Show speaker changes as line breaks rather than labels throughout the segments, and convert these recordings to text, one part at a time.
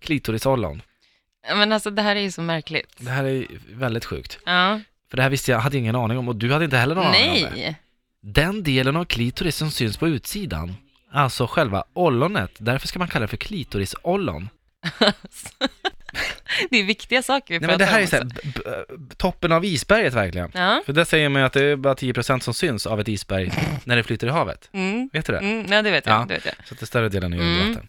Klitorishållaren.
Ja, Men alltså det här är ju så märkligt.
Det här är väldigt sjukt.
Ja.
För det här visste jag, hade ingen aning om och du hade inte heller någon aning om det.
Nej!
Den delen av klitoris som syns på utsidan, alltså själva ollonet, därför ska man kalla det för klitorisollon.
Det är viktiga saker vi
Nej men
pratar
det här
om.
är så här,
också.
b- b- b- toppen av isberget verkligen.
Ja.
För det säger man ju att det är bara 10% som syns av ett isberg när det flyter i havet.
Mm.
Vet du det?
Mm, ja, det vet jag.
Ja.
Det vet jag.
Så att det större delen är ju
Mm.
under vatten.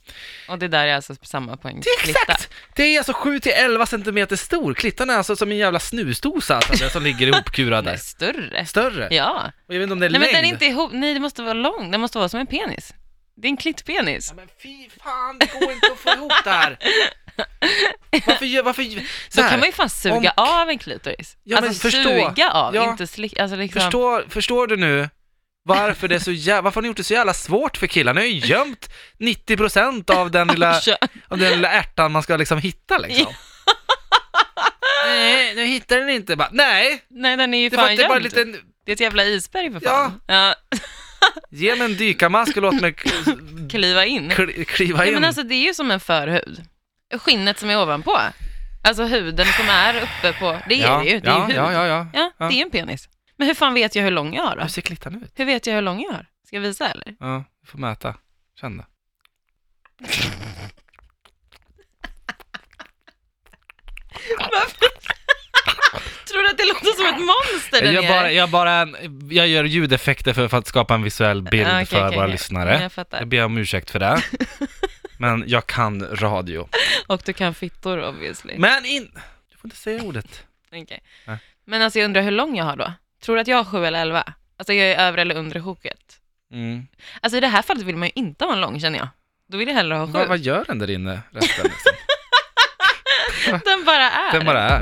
Och det där är alltså samma poäng.
Det är exakt! Det är alltså 7-11 cm stor. Klittan är alltså som en jävla snusdosa alltså, den som ligger ihopkurad
Nej,
där.
större.
Större.
Ja.
Och jag vet inte om det är
Nej men
längd.
den är inte ihop, nej det måste vara lång, den måste vara som en penis. Det är en klittpenis.
Ja, men fy fan, det går inte att få ihop det här. Varför gör, varför,
Så
så här,
kan man ju fan suga
om-
av en klitoris.
Ja, men
alltså
förstå.
suga av,
Ja.
inte slicka, alltså liksom.
förstår, förstår du nu varför det är så jävla, varför har ni gjort det så jävla svårt för killar? Ni har ju gömt 90% av den lilla,
Kö-
av den lilla ärtan man ska liksom hitta liksom. Nej, nu hittar den inte. Bara, nej,
Nej den är ju
det var
fan
inte bara
gömd.
en liten
Det är ett jävla isberg för fan. Ja.
Ge mig en dykarmask och låt mig k-
Kliva in.
kli- kliva
Nej,
in.
men alltså det är ju som en förhud. Skinnet som är ovanpå. Alltså huden som är uppe på, det är det ju, det är ju
ja,
hud.
ja, ja, ja.
Ja, det är ju en penis. Men hur fan vet jag hur lång jag har då?
Hur ser klittan ut?
Hur vet jag hur lång jag har? Ska jag visa eller?
Ja, du får mäta. Känn det.
Tror du att det låter som ett monster där
Jag,
nere?
bara, jag, bara en, jag gör ljudeffekter för, för att skapa en visuell bild
Ja, Ah, okej,
för
okej,
våra
okej. Ja,
lyssnare.
Jag fattar.
Jag ber om ursäkt för det. Men jag kan radio.
Och du kan fittor obviously.
Men in... Du får inte säga ordet.
Okej.
Nej.
Men alltså jag undrar hur lång jag har då? Tror du att jag har sju eller elva? Alltså jag är över eller under sjoket.
Mm.
Alltså i det här fallet vill man ju inte ha en lång känner jag. Då vill jag hellre ha
Vad,
sju.
vad gör den där inne resten? Liksom?
Den bara är.
Den bara är.